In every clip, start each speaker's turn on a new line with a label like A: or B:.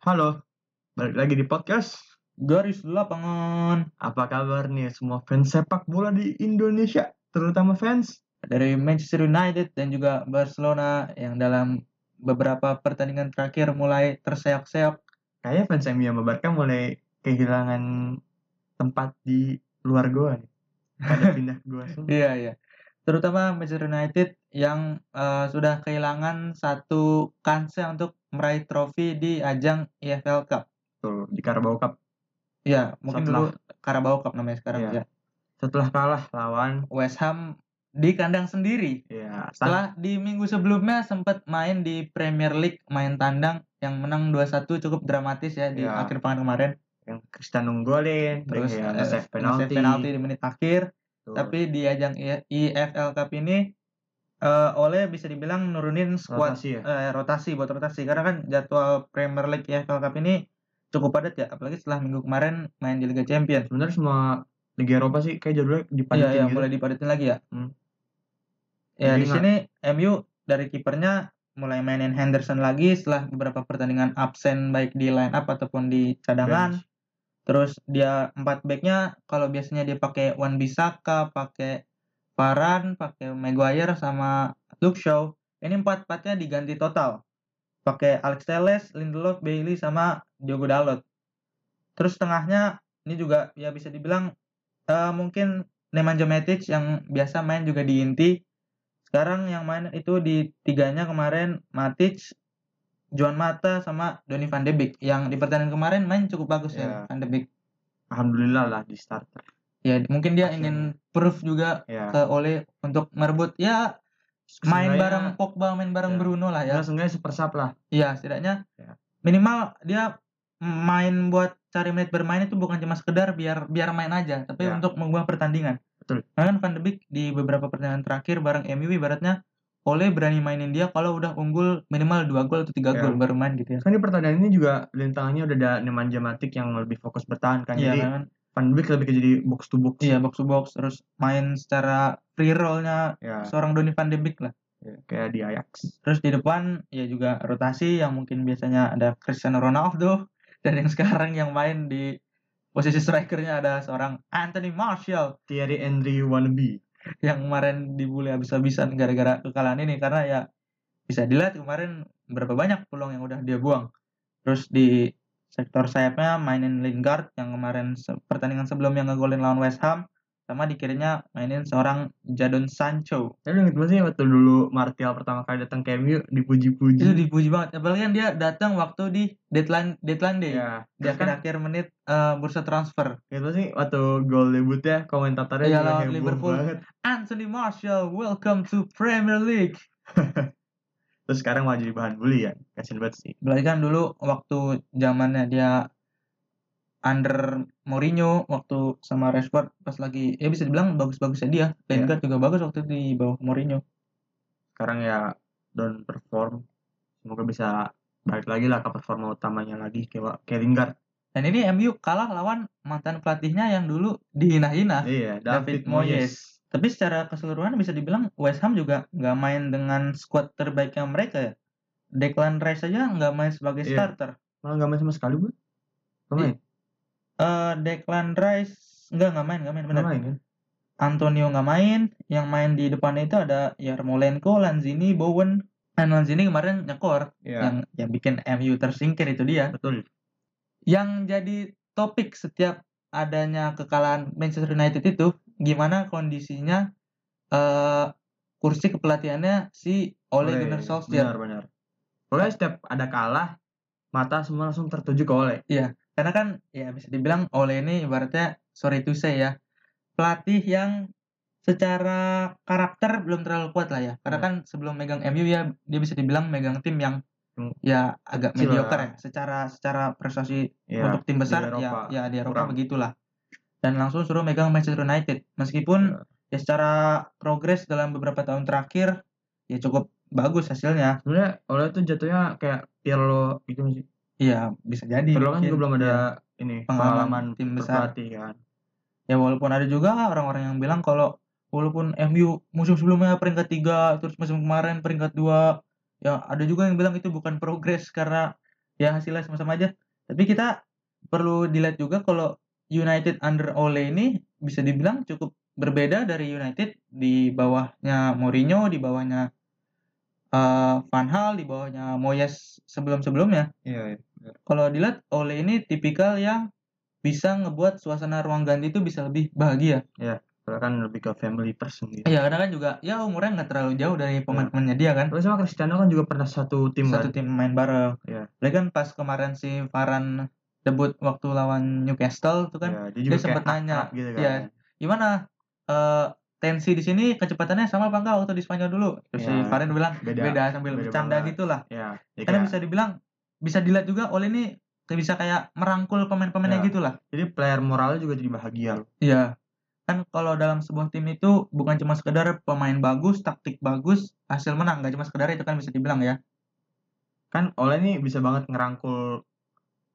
A: Halo, balik lagi di podcast.
B: garis lapangan
A: Apa kabar nih semua fans sepak bola di Indonesia, terutama fans?
B: dari Manchester United dan juga Barcelona yang dalam beberapa pertandingan terakhir mulai terseok-seok.
A: Kayaknya fans MU sama Barca mulai kehilangan tempat di luar goa nih. Pada pindah goa semua.
B: Iya, iya. Terutama Manchester United yang eh, sudah kehilangan satu kansnya untuk meraih trofi di ajang EFL Cup.
A: Tuh, di Carabao Cup.
B: Iya, mungkin dulu
A: Setelah-
B: Carabao Cup namanya sekarang
A: Iya.
B: ya.
A: Setelah kalah lawan
B: West Ham di kandang sendiri.
A: ya Stan-
B: Setelah di minggu sebelumnya sempat main di Premier League, main tandang yang menang 2-1 cukup dramatis ya di
A: Iya.
B: akhir pekan kemarin.
A: yang Cristiano nggolin,
B: terus
A: yang
B: eh,
A: nge-save
B: nge-save
A: penalti.
B: penalti di menit akhir
A: Tuh.
B: tapi di ajang I- IFL Cup ini eh, oleh bisa dibilang nurunin squad
A: rotasi ya.
B: eh, rotasi buat rotasi karena kan jadwal Premier League IFL Cup ini cukup padat ya apalagi setelah minggu kemarin main di Liga Champions
A: Sebenarnya semua Liga Eropa sih kayak jadulnya
B: iya
A: dipanikin
B: iya
A: gitu.
B: mulai dipadatin lagi ya
A: Hmm.
B: ya
A: Jadi
B: di
A: nggak-
B: sini MU dari kipernya mulai mainin Henderson lagi setelah beberapa pertandingan absen baik di line up ataupun di cadangan
A: Bench.
B: Terus dia empat backnya kalau biasanya dia pakai Wan Bisaka, pakai Varane, pakai Maguire sama Luke Shaw. Ini empat empatnya diganti total. Pakai Alex Telles, Lindelof, Bailey sama Diogo Dalot. Terus tengahnya ini juga ya bisa dibilang eh, mungkin Nemanja Matic yang biasa main juga di inti. Sekarang yang main itu di tiganya kemarin Matic, Juan Mata sama Donny van de Beek yang di pertandingan kemarin main cukup bagus
A: Iya.
B: ya van de Beek.
A: Alhamdulillah lah di starter.
B: Ya mungkin dia
A: Akhirnya.
B: ingin proof juga
A: Ya.
B: ke Ole untuk merebut ya main
A: Seenggaknya-
B: bareng Pogba, main bareng
A: Ya.
B: Bruno lah ya.
A: Ya, seenggaknya sepersap lah.
B: Iya, setidaknya
A: Ya.
B: minimal dia main buat cari menit bermain itu bukan cuma sekedar biar biar main aja, tapi
A: Ya.
B: untuk mengubah pertandingan.
A: Betul.
B: Karena kan Van de Beek di beberapa pertandingan terakhir bareng MU ibaratnya Ole berani mainin dia kalau udah unggul minimal 2 gol atau 3
A: Ya.
B: gol baru main gitu ya.
A: kan di pertandingan ini juga lini tengahnya udah ada Nemanja Matic yang lebih fokus bertahan kan
B: Iya
A: jadi
B: kan?
A: Van Beek lebih ke jadi box to box
B: Iya box to box terus main secara free roll-nya
A: ya,
B: seorang Donny van de Beek lah.
A: ya, kayak di Ajax
B: Terus di depan ya juga rotasi yang mungkin biasanya ada Cristiano Ronaldo dan yang sekarang yang main di posisi strikernya ada seorang Anthony Martial
A: Thierry Henry wannabe
B: yang kemarin dibully habis-habisan gara-gara kekalahan ini karena ya bisa dilihat kemarin berapa banyak peluang yang udah dia buang. Terus di sektor sayapnya mainin Lingard yang kemarin se- pertandingan sebelum yang ngegolin lawan West Ham sama di kirinya mainin seorang Jadon Sancho.
A: tapi inget banget sih waktu dulu Martial pertama kali datang ke MU
B: Itu
A: dipuji-puji
B: dipuji banget. Apalagi kan dia datang waktu di deadline deadline day.
A: ya
B: di
A: terus kan
B: akhir-akhir menit eh, bursa transfer.
A: gitu sih waktu gol debutnya komentatornya
B: Iya,
A: juga
B: lawan
A: heboh
B: Liverpool.
A: banget
B: Anthony Martial, welcome to Premier League.
A: terus sekarang malah jadi bahan bully kan kasian banget sih
B: Berarti kan dulu waktu zamannya dia under Mourinho waktu sama Rashford pas lagi ya bisa dibilang bagus-bagusnya dia.
A: Iya.
B: Lingard juga bagus waktu itu di bawah Mourinho.
A: sekarang ya down perform semoga bisa balik lagi lah ke performa utamanya lagi kayak kayak Lingard
B: Dan ini MU kalah lawan mantan pelatihnya yang dulu dihina-hina.
A: iya
B: Ah,
A: David,
B: David
A: Moyes
B: Tapi secara keseluruhan bisa dibilang West Ham juga nggak main dengan squad terbaiknya mereka ya. Declan Rice aja nggak main sebagai
A: Iya.
B: starter.
A: malah nggak main sama sekali gue nggak main
B: eh Declan Rice enggak nggak main nggak main benar
A: nggak main kan
B: Antonio nggak main yang main di depannya itu ada Yarmolenko Lanzini Bowen dan Lanzini kemarin nyekor
A: Iya,
B: yang yang bikin MU tersingkir itu dia
A: betul
B: yang jadi topik setiap adanya kekalahan Manchester United itu gimana kondisinya eh kursi kepelatihannya si Ole Gunnar Solskjaer
A: benar benar pokoknya setiap ada kalah mata semua langsung tertuju ke Ole
B: karena kan ya bisa dibilang Ole ini ibaratnya sorry to say ya pelatih yang secara karakter belum terlalu kuat lah ya karena
A: Iya.
B: kan sebelum megang MU ya dia bisa dibilang megang tim yang
A: Hmm.
B: ya agak
A: Kecil
B: mediocre
A: lah.
B: ya secara secara prestasi
A: ya
B: untuk tim besar
A: Eropa
B: ya ya di Eropa
A: kurang.
B: begitulah dan langsung suruh megang Manchester United meskipun
A: Iya.
B: ya secara progres dalam beberapa tahun terakhir ya cukup bagus hasilnya
A: sebenarnya Ole tuh jatuhnya kayak Pirlo gitu sih
B: ya bisa jadi
A: Pirlo kan
B: mungkin.
A: juga belum ada
B: Ya.
A: ini
B: Pengalaman
A: pengalaman
B: tim besar.
A: berpelatih kan
B: ya walaupun ada juga orang-orang yang bilang kalau walaupun MU musim sebelumnya peringkat tiga terus musim kemarin peringkat dua ya ada juga yang bilang itu bukan progres karena ya hasilnya sama-sama aja. Tapi kita perlu dilihat juga kalau United under Ole ini bisa dibilang cukup berbeda dari United di bawahnya Mourinho, di bawahnya eh, Van Hal, di bawahnya Moyes sebelum-sebelumnya.
A: Iya, iya.
B: Kalau dilihat Ole ini tipikal yang bisa ngebuat suasana ruang ganti itu bisa lebih bahagia.
A: Soalnya kan lebih ke family person gitu.
B: Ya karena kan juga ya umurnya nggak terlalu jauh dari pemain-pemainnya dia kan.
A: Tapi sama Cristiano kan juga pernah satu Iya. tim
B: Satu
A: kan.
B: tim main bareng.
A: Iya.
B: Lagi kan pas kemarin si Varane debut waktu lawan Newcastle tuh kan
A: Iya, dia juga
B: dia sempet
A: kayak
B: nanya.
A: akrab gitu kan.
B: Iya. gimana eh, tensi di sini kecepatannya sama apa enggak waktu di Spanyol dulu terus si
A: Ya,
B: Varane bilang
A: beda.
B: beda, sambil
A: beda
B: bercanda
A: banget.
B: gitulah
A: Iya, jadi
B: karena
A: kayak-
B: bisa dibilang bisa dilihat juga oleh ini kayak bisa kayak merangkul pemain-pemainnya gitu
A: Ya.
B: gitulah
A: jadi player moralnya juga jadi bahagia loh.
B: iya kan kalau dalam sebuah tim itu bukan cuma sekedar pemain bagus taktik bagus hasil menang nggak cuma sekedar itu kan bisa dibilang ya
A: Kan Ole ini bisa banget ngerangkul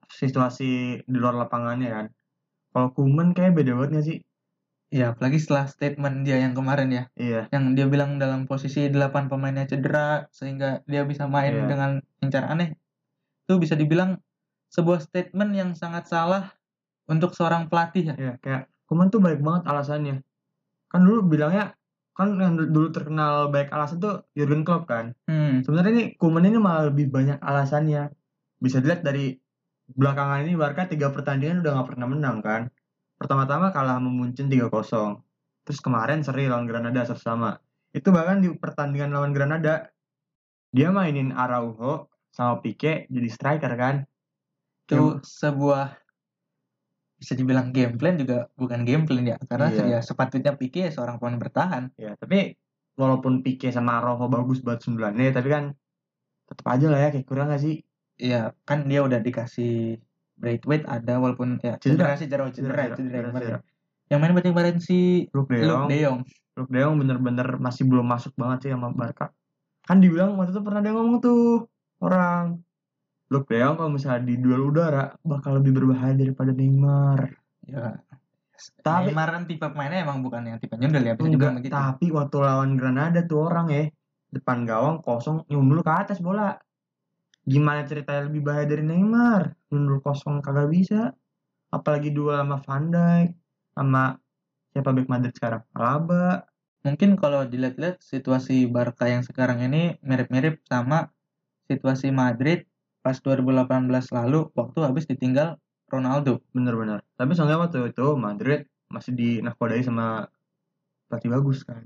A: situasi di luar lapangannya kan. Kalau Kuman kayak beda banget gak sih?
B: iya apalagi setelah statement dia yang kemarin ya
A: Iya,
B: yang dia bilang dalam posisi 8 pemainnya cedera sehingga dia bisa main
A: Iya.
B: dengan dengan cara aneh itu bisa dibilang sebuah statement yang sangat salah untuk seorang pelatih ya
A: iya kayak Kuman tuh baik banget alasannya. Kan dulu bilangnya kan yang du- dulu terkenal baik alasan tuh Jurgen Klopp kan.
B: hmm,
A: sebenarnya ini Kuman ini malah lebih banyak alasannya bisa dilihat dari belakangan ini Barca tiga pertandingan udah nggak pernah menang kan pertama-tama kalah sama Munchen 3-0 terus kemarin seri lawan Granada sama itu bahkan di pertandingan lawan Granada dia mainin Araujo sama Pique jadi striker kan
B: itu
A: Iya.
B: sebuah bisa dibilang game plan juga bukan game plan ya karena
A: Iya.
B: ya sepatutnya Pique ya seorang pemain bertahan
A: ya tapi walaupun Pique sama Araujo bagus buat sembilannya tapi kan tetap aja lah ya kayak kurang gak sih
B: ya kan dia udah dikasih Braithwaite ada walaupun ya
A: Cedera.
B: cedera sih cedera cedera cedera, yang kemarin. ya.
A: cedera.
B: yang main berarti kemarin si
A: Luke De
B: Luke
A: Jong
B: De Jong
A: Luke De Jong bener-bener masih belum masuk banget sih sama Barca. Kan dibilang waktu itu pernah ada yang ngomong tuh orang Luke De Jong kalau misalnya di duel udara bakal lebih berbahaya daripada Neymar.
B: ya
A: Tapi-
B: Neymar kan tipe pemainnya emang bukan yang tipe nyundul ya bisa dibilang
A: Enggak,
B: begitu
A: tapi waktu lawan Granada tuh orang ya depan gawang kosong nyundul ke atas bola. Gimana ceritanya lebih bahaya dari Neymar? Nyundul kosong kagak bisa. Apalagi duel sama Van Dijk sama siapa back Madrid sekarang? Alaba.
B: mungkin kalau dilihat-lihat situasi Barca yang sekarang ini mirip-mirip sama situasi Madrid pas 2018 lalu waktu habis ditinggal Ronaldo.
A: Bener-bener. Tapi soalnya waktu itu Madrid masih dinakodai sama pelatih bagus kan.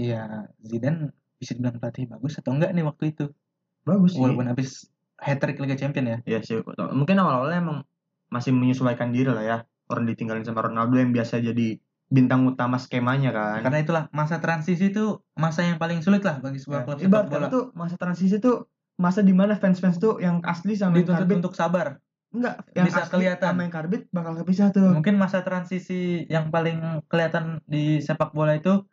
B: Iya, Zidane bisa dibilang pelatih bagus atau enggak nih waktu itu?
A: Bagus Iya sih.
B: Walaupun habis hat trick Liga Champion ya.
A: Iya sih. Mungkin awal-awalnya emang masih menyesuaikan diri lah ya. Orang ditinggalin sama Ronaldo yang biasa jadi bintang utama skemanya kan.
B: Nah, Karena itulah masa transisi itu masa yang paling sulit lah bagi sebuah klub sepak
A: Ya, Ibarat
B: bola.
A: kata tuh masa transisi tuh masa di mana fans-fans tuh yang asli sama yang
B: Dituntut
A: karbit
B: untuk sabar.
A: enggak
B: bisa kelihatan. Hmm.
A: sama yang karbit bakal kepisah tuh.
B: Mungkin masa transisi yang paling kelihatan di sepak bola itu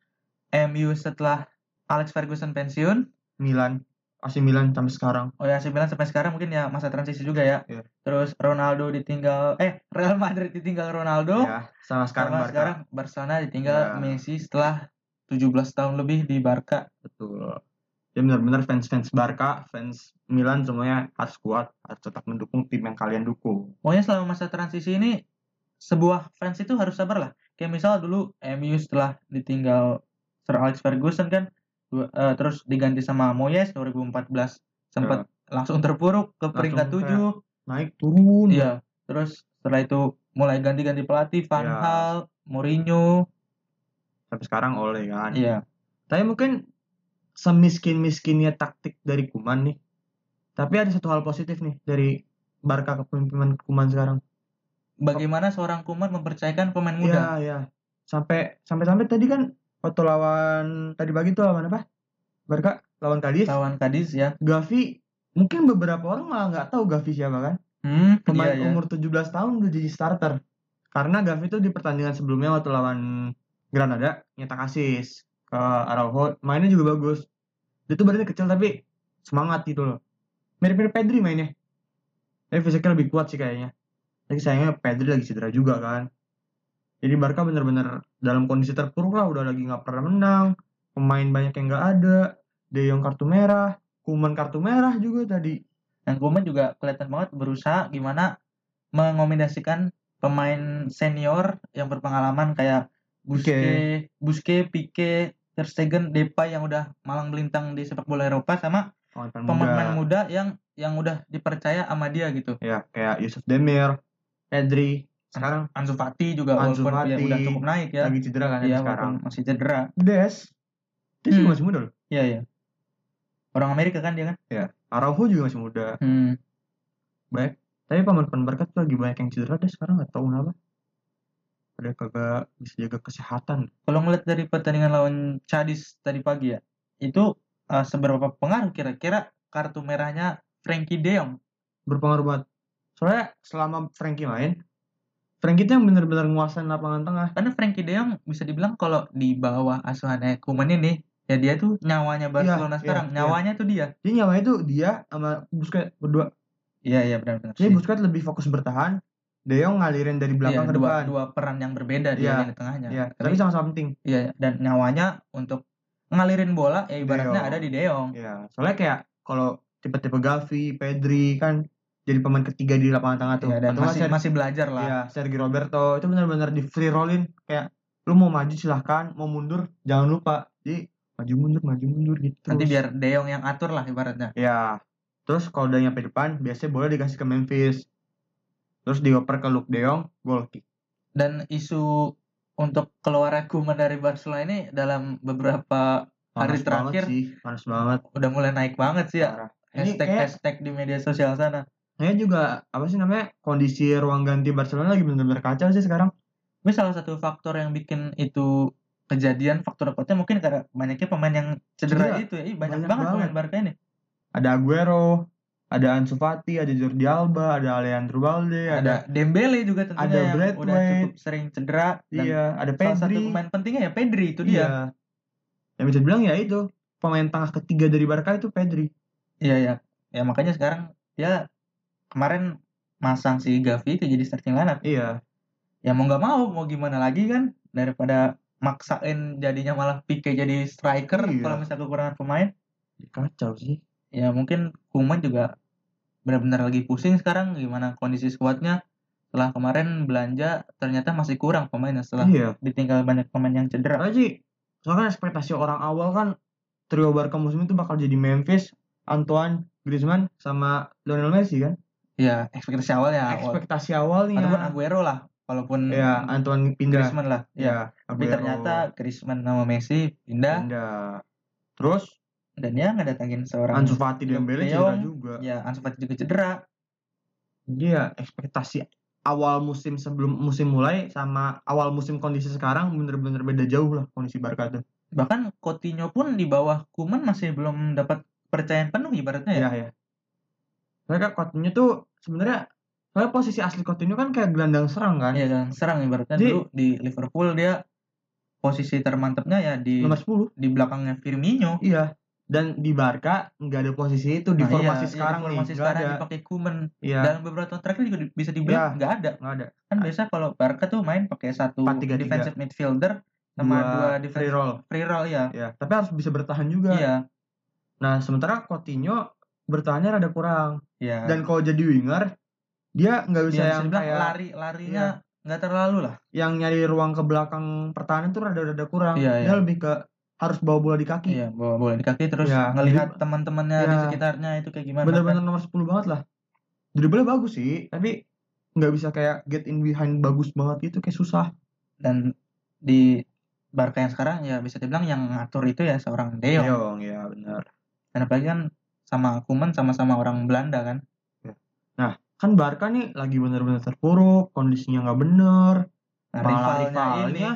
B: MU setelah Alex Ferguson pensiun,
A: Milan, AC Milan sampai sekarang.
B: Oh ya, AC Milan sampai sekarang mungkin ya masa transisi juga ya.
A: Iya.
B: Terus Ronaldo ditinggal, eh Real Madrid ditinggal Ronaldo.
A: Ya, sama sekarang
B: Oh. Sama
A: Barca.
B: sekarang Barcelona ditinggal
A: Ya.
B: Messi setelah 17 tahun lebih di Barca.
A: Betul. Ya benar-benar fans-fans Barca, fans Milan semuanya harus kuat, harus tetap mendukung tim yang kalian dukung.
B: Pokoknya selama masa transisi ini sebuah fans itu harus sabar lah. Kayak misal dulu MU setelah ditinggal Sir Alex Ferguson kan dua- eh, terus diganti sama Moyes 2014 sempat langsung terpuruk ke peringkat
A: Iya. Langsung
B: 7.
A: Naik turun.
B: Iya, terus setelah itu mulai ganti-ganti pelatih, Van
A: Iya.
B: Hal, Mourinho,
A: Sampai sekarang oleh kan.
B: iya.
A: Tapi mungkin semiskin-miskinnya taktik dari Kuman nih. Tapi ada satu hal positif nih dari Barca kepemimpinan Kuman sekarang.
B: Bagaimana seorang Kuman mempercayakan pemain
A: Iya,
B: muda?
A: iya. Sampai sampai sampai tadi kan waktu lawan tadi pagi tuh lawan apa? Barca lawan Cadiz.
B: Lawan Cadiz ya.
A: Gavi mungkin beberapa orang malah nggak tahu Gavi siapa kan.
B: Hmm,
A: pemain
B: iya, iya.
A: umur 17 tahun udah jadi starter. Karena Gavi itu di pertandingan sebelumnya waktu lawan Granada nyetak asis ke Araujo, mainnya juga bagus. Dia tuh badannya kecil tapi semangat gitu loh. Mirip-mirip Pedri mainnya. Tapi fisiknya lebih kuat sih kayaknya. Tapi sayangnya Pedri lagi cedera juga kan. Jadi Barca bener-bener dalam kondisi terpuruk lah, udah lagi nggak pernah menang. Pemain banyak yang nggak ada. De Jong kartu merah, Kuman kartu merah juga tadi.
B: Dan Koeman juga kelihatan banget berusaha gimana mengombinasikan pemain senior yang berpengalaman kayak Buske, Buske, Pique, Ter Stegen, Depay yang udah malang melintang di sepak bola Eropa sama
A: Pemain
B: pemain-pemain muda yang yang udah dipercaya sama dia gitu.
A: ya kayak Yusuf Demir, Pedri, sekarang
B: Ansu Fati juga
A: Ansu
B: walaupun dia
A: Fati.
B: udah cukup naik ya.
A: lagi cedera kan ya
B: Iya,
A: sekarang.
B: walaupun masih cedera.
A: Des, Des juga
B: Hmm.
A: masih muda loh.
B: Iya, iya. Orang Amerika kan dia kan?
A: Araujo juga masih muda.
B: Hmm.
A: Tapi pemain-pemain berkat tuh lagi banyak yang cedera deh sekarang nggak tahu kenapa. Udah kagak bisa jaga kesehatan.
B: Kalau ngeliat dari pertandingan lawan Chadis tadi pagi ya, itu eh, seberapa pengaruh kira-kira kartu merahnya Frankie De Jong?
A: Berpengaruh banget. Soalnya selama Frankie main, Frankie tuh yang bener-bener nguasain lapangan tengah.
B: Karena Frankie De Jong bisa dibilang kalau di bawah asuhannya Koeman ini, ya dia tuh nyawanya Barcelona
A: Iya,
B: sekarang,
A: iya, iya.
B: nyawanya tuh dia.
A: Jadi nyawanya tuh dia sama Busquets berdua.
B: Iya iya benar-benar.
A: Jadi Busquets lebih fokus bertahan, De Jong ngalirin dari belakang
B: Iya,
A: ke
B: dua,
A: depan.
B: dua ya. peran yang berbeda
A: Iya,
B: dia di tengahnya.
A: Iya,
B: Tapi
A: tapi sama-sama penting.
B: iya iya. dan nyawanya untuk ngalirin bola ya ibaratnya
A: Jong.
B: ada di De Jong.
A: Iya, soalnya kayak kalau tipe-tipe Gavi, Pedri kan jadi pemain ketiga di lapangan tengah tuh.
B: Iya, dan
A: Atau nggak
B: masih
A: Ser-
B: masih belajar lah.
A: iya, Sergio Roberto itu benar-benar di free rollin kayak lu mau maju silahkan, mau mundur jangan lupa. Jadi maju mundur, maju mundur gitu.
B: Nanti
A: terus.
B: biar De Jong yang atur lah ibaratnya.
A: Iya. Terus kalau udah nyampe depan, biasanya bola dikasih ke Memphis. Terus dioper ke Luke De Jong, gol kick.
B: dan isu untuk keluarnya Koeman dari Barcelona ini dalam beberapa
A: Panas
B: Hari
A: banget
B: terakhir.
A: sih, panas banget.
B: udah mulai naik banget sih ya
A: parah. Ini
B: hashtag
A: kayak-
B: hashtag di media sosial sana.
A: Kayaknya juga apa sih namanya kondisi ruang ganti Barcelona lagi benar-benar kacau sih sekarang.
B: Tapi salah satu faktor yang bikin itu kejadian faktor kuatnya mungkin karena banyaknya pemain yang cedera
A: Cedera.
B: itu ya. Ih,
A: Iya. Banyak
B: banyak, banget
A: banget.
B: pemain Barca ini.
A: ada Aguero, ada Ansu Fati, ada Jordi Alba, ada Alejandro Valde, ada,
B: Ada Dembele juga
A: Iya,
B: tentunya
A: ada
B: yang udah
A: Braithwaite.
B: cukup sering cedera dan
A: iya, ada
B: salah satu
A: Pedri.
B: pemain pentingnya ya Pedri itu
A: iya.
B: dia.
A: Yang bisa dibilang ya itu pemain tengah ketiga dari Barca itu Pedri.
B: Iya ya. Ya makanya sekarang ya kemarin masang si Gavi itu jadi starting lineup.
A: Iya,
B: ya mau nggak mau mau gimana lagi kan daripada maksain jadinya malah Pique jadi striker
A: Iya.
B: kalau misalnya kekurangan pemain
A: kacau sih.
B: ya mungkin Kuman juga benar-benar lagi pusing sekarang gimana kondisi skuadnya setelah kemarin belanja ternyata masih kurang pemainnya setelah
A: Iya.
B: ditinggal banyak pemain yang cedera
A: Karena sih soalnya ekspektasi orang awal kan trio Barca musim itu bakal jadi Memphis, Antoine, Griezmann sama Lionel Messi kan.
B: ya ekspektasi awal ya awal.
A: Ekspektasi
B: ataupun
A: awalnya
B: Aguero lah walaupun
A: ya Antoine pindah.
B: Griezmann lah ya,
A: Ya, Aguero
B: tapi ternyata ya. Griezmann sama Messi pindah
A: pindah. Terus
B: dan ya ngedatangin seorang
A: Ansu Fati dan Bele
B: De
A: cedera
B: Jong.
A: juga.
B: ya Ansu Fati juga cedera
A: Dia ya, ekspektasi awal musim sebelum musim mulai sama awal musim kondisi sekarang bener-bener beda jauh lah kondisi Barca tuh.
B: bahkan Coutinho pun di bawah Kuman masih belum dapat percayaan penuh ibaratnya ya.
A: Iya ya. Mereka Coutinho tuh sebenarnya soalnya posisi asli Coutinho kan kayak gelandang serang kan.
B: Iya, yang serang ibaratnya
A: Jadi-
B: dulu di Liverpool dia posisi termantapnya ya di
A: Nomor 10.
B: di belakangnya Firmino.
A: Iya. Dan di Barca nggak ada posisi itu di
B: Nah, iya,
A: formasi
B: iya, di
A: sekarang
B: formasi
A: nih. Nggak
B: sekarang
A: ada.
B: dipakai Kuman.
A: Iya.
B: Dalam beberapa tahun terakhir juga di- bisa dibilang nggak ada.
A: Nggak ada.
B: Kan biasa kalau Barca tuh main pakai satu
A: 4-3-3.
B: defensive midfielder sama dua,
A: free
B: defensive
A: roll.
B: free roll ya.
A: Iya. Tapi harus bisa bertahan juga.
B: Iya.
A: Nah sementara Coutinho bertahannya rada kurang.
B: Iya.
A: dan kalau jadi winger dia nggak bisa
B: Iya,
A: yang
B: dibilang
A: kayak Iya.
B: lari-larinya nggak terlalu lah.
A: yang nyari ruang ke belakang pertahanan tuh rada-rada kurang dia
B: Iya, iya.
A: lebih ke harus bawa bola di kaki
B: Iya, bawa bola di kaki terus
A: Iya,
B: ngelihat teman-temannya di
A: iya.
B: sekitarnya itu kayak gimana.
A: bener-bener nomor 10 banget lah dribble bagus sih tapi nggak bisa kayak get in behind bagus banget gitu kayak susah
B: dan di Barca yang sekarang ya bisa dibilang yang ngatur itu ya seorang De
A: Yong,
B: Jong.
A: ya bener
B: Dan apalagi kan sama Kuman sama-sama orang Belanda kan.
A: kan Barca nih lagi bener-bener terpuruk kondisinya nggak bener
B: Nah,
A: malah
B: rivalnya ini
A: rivalnya ya. lagi,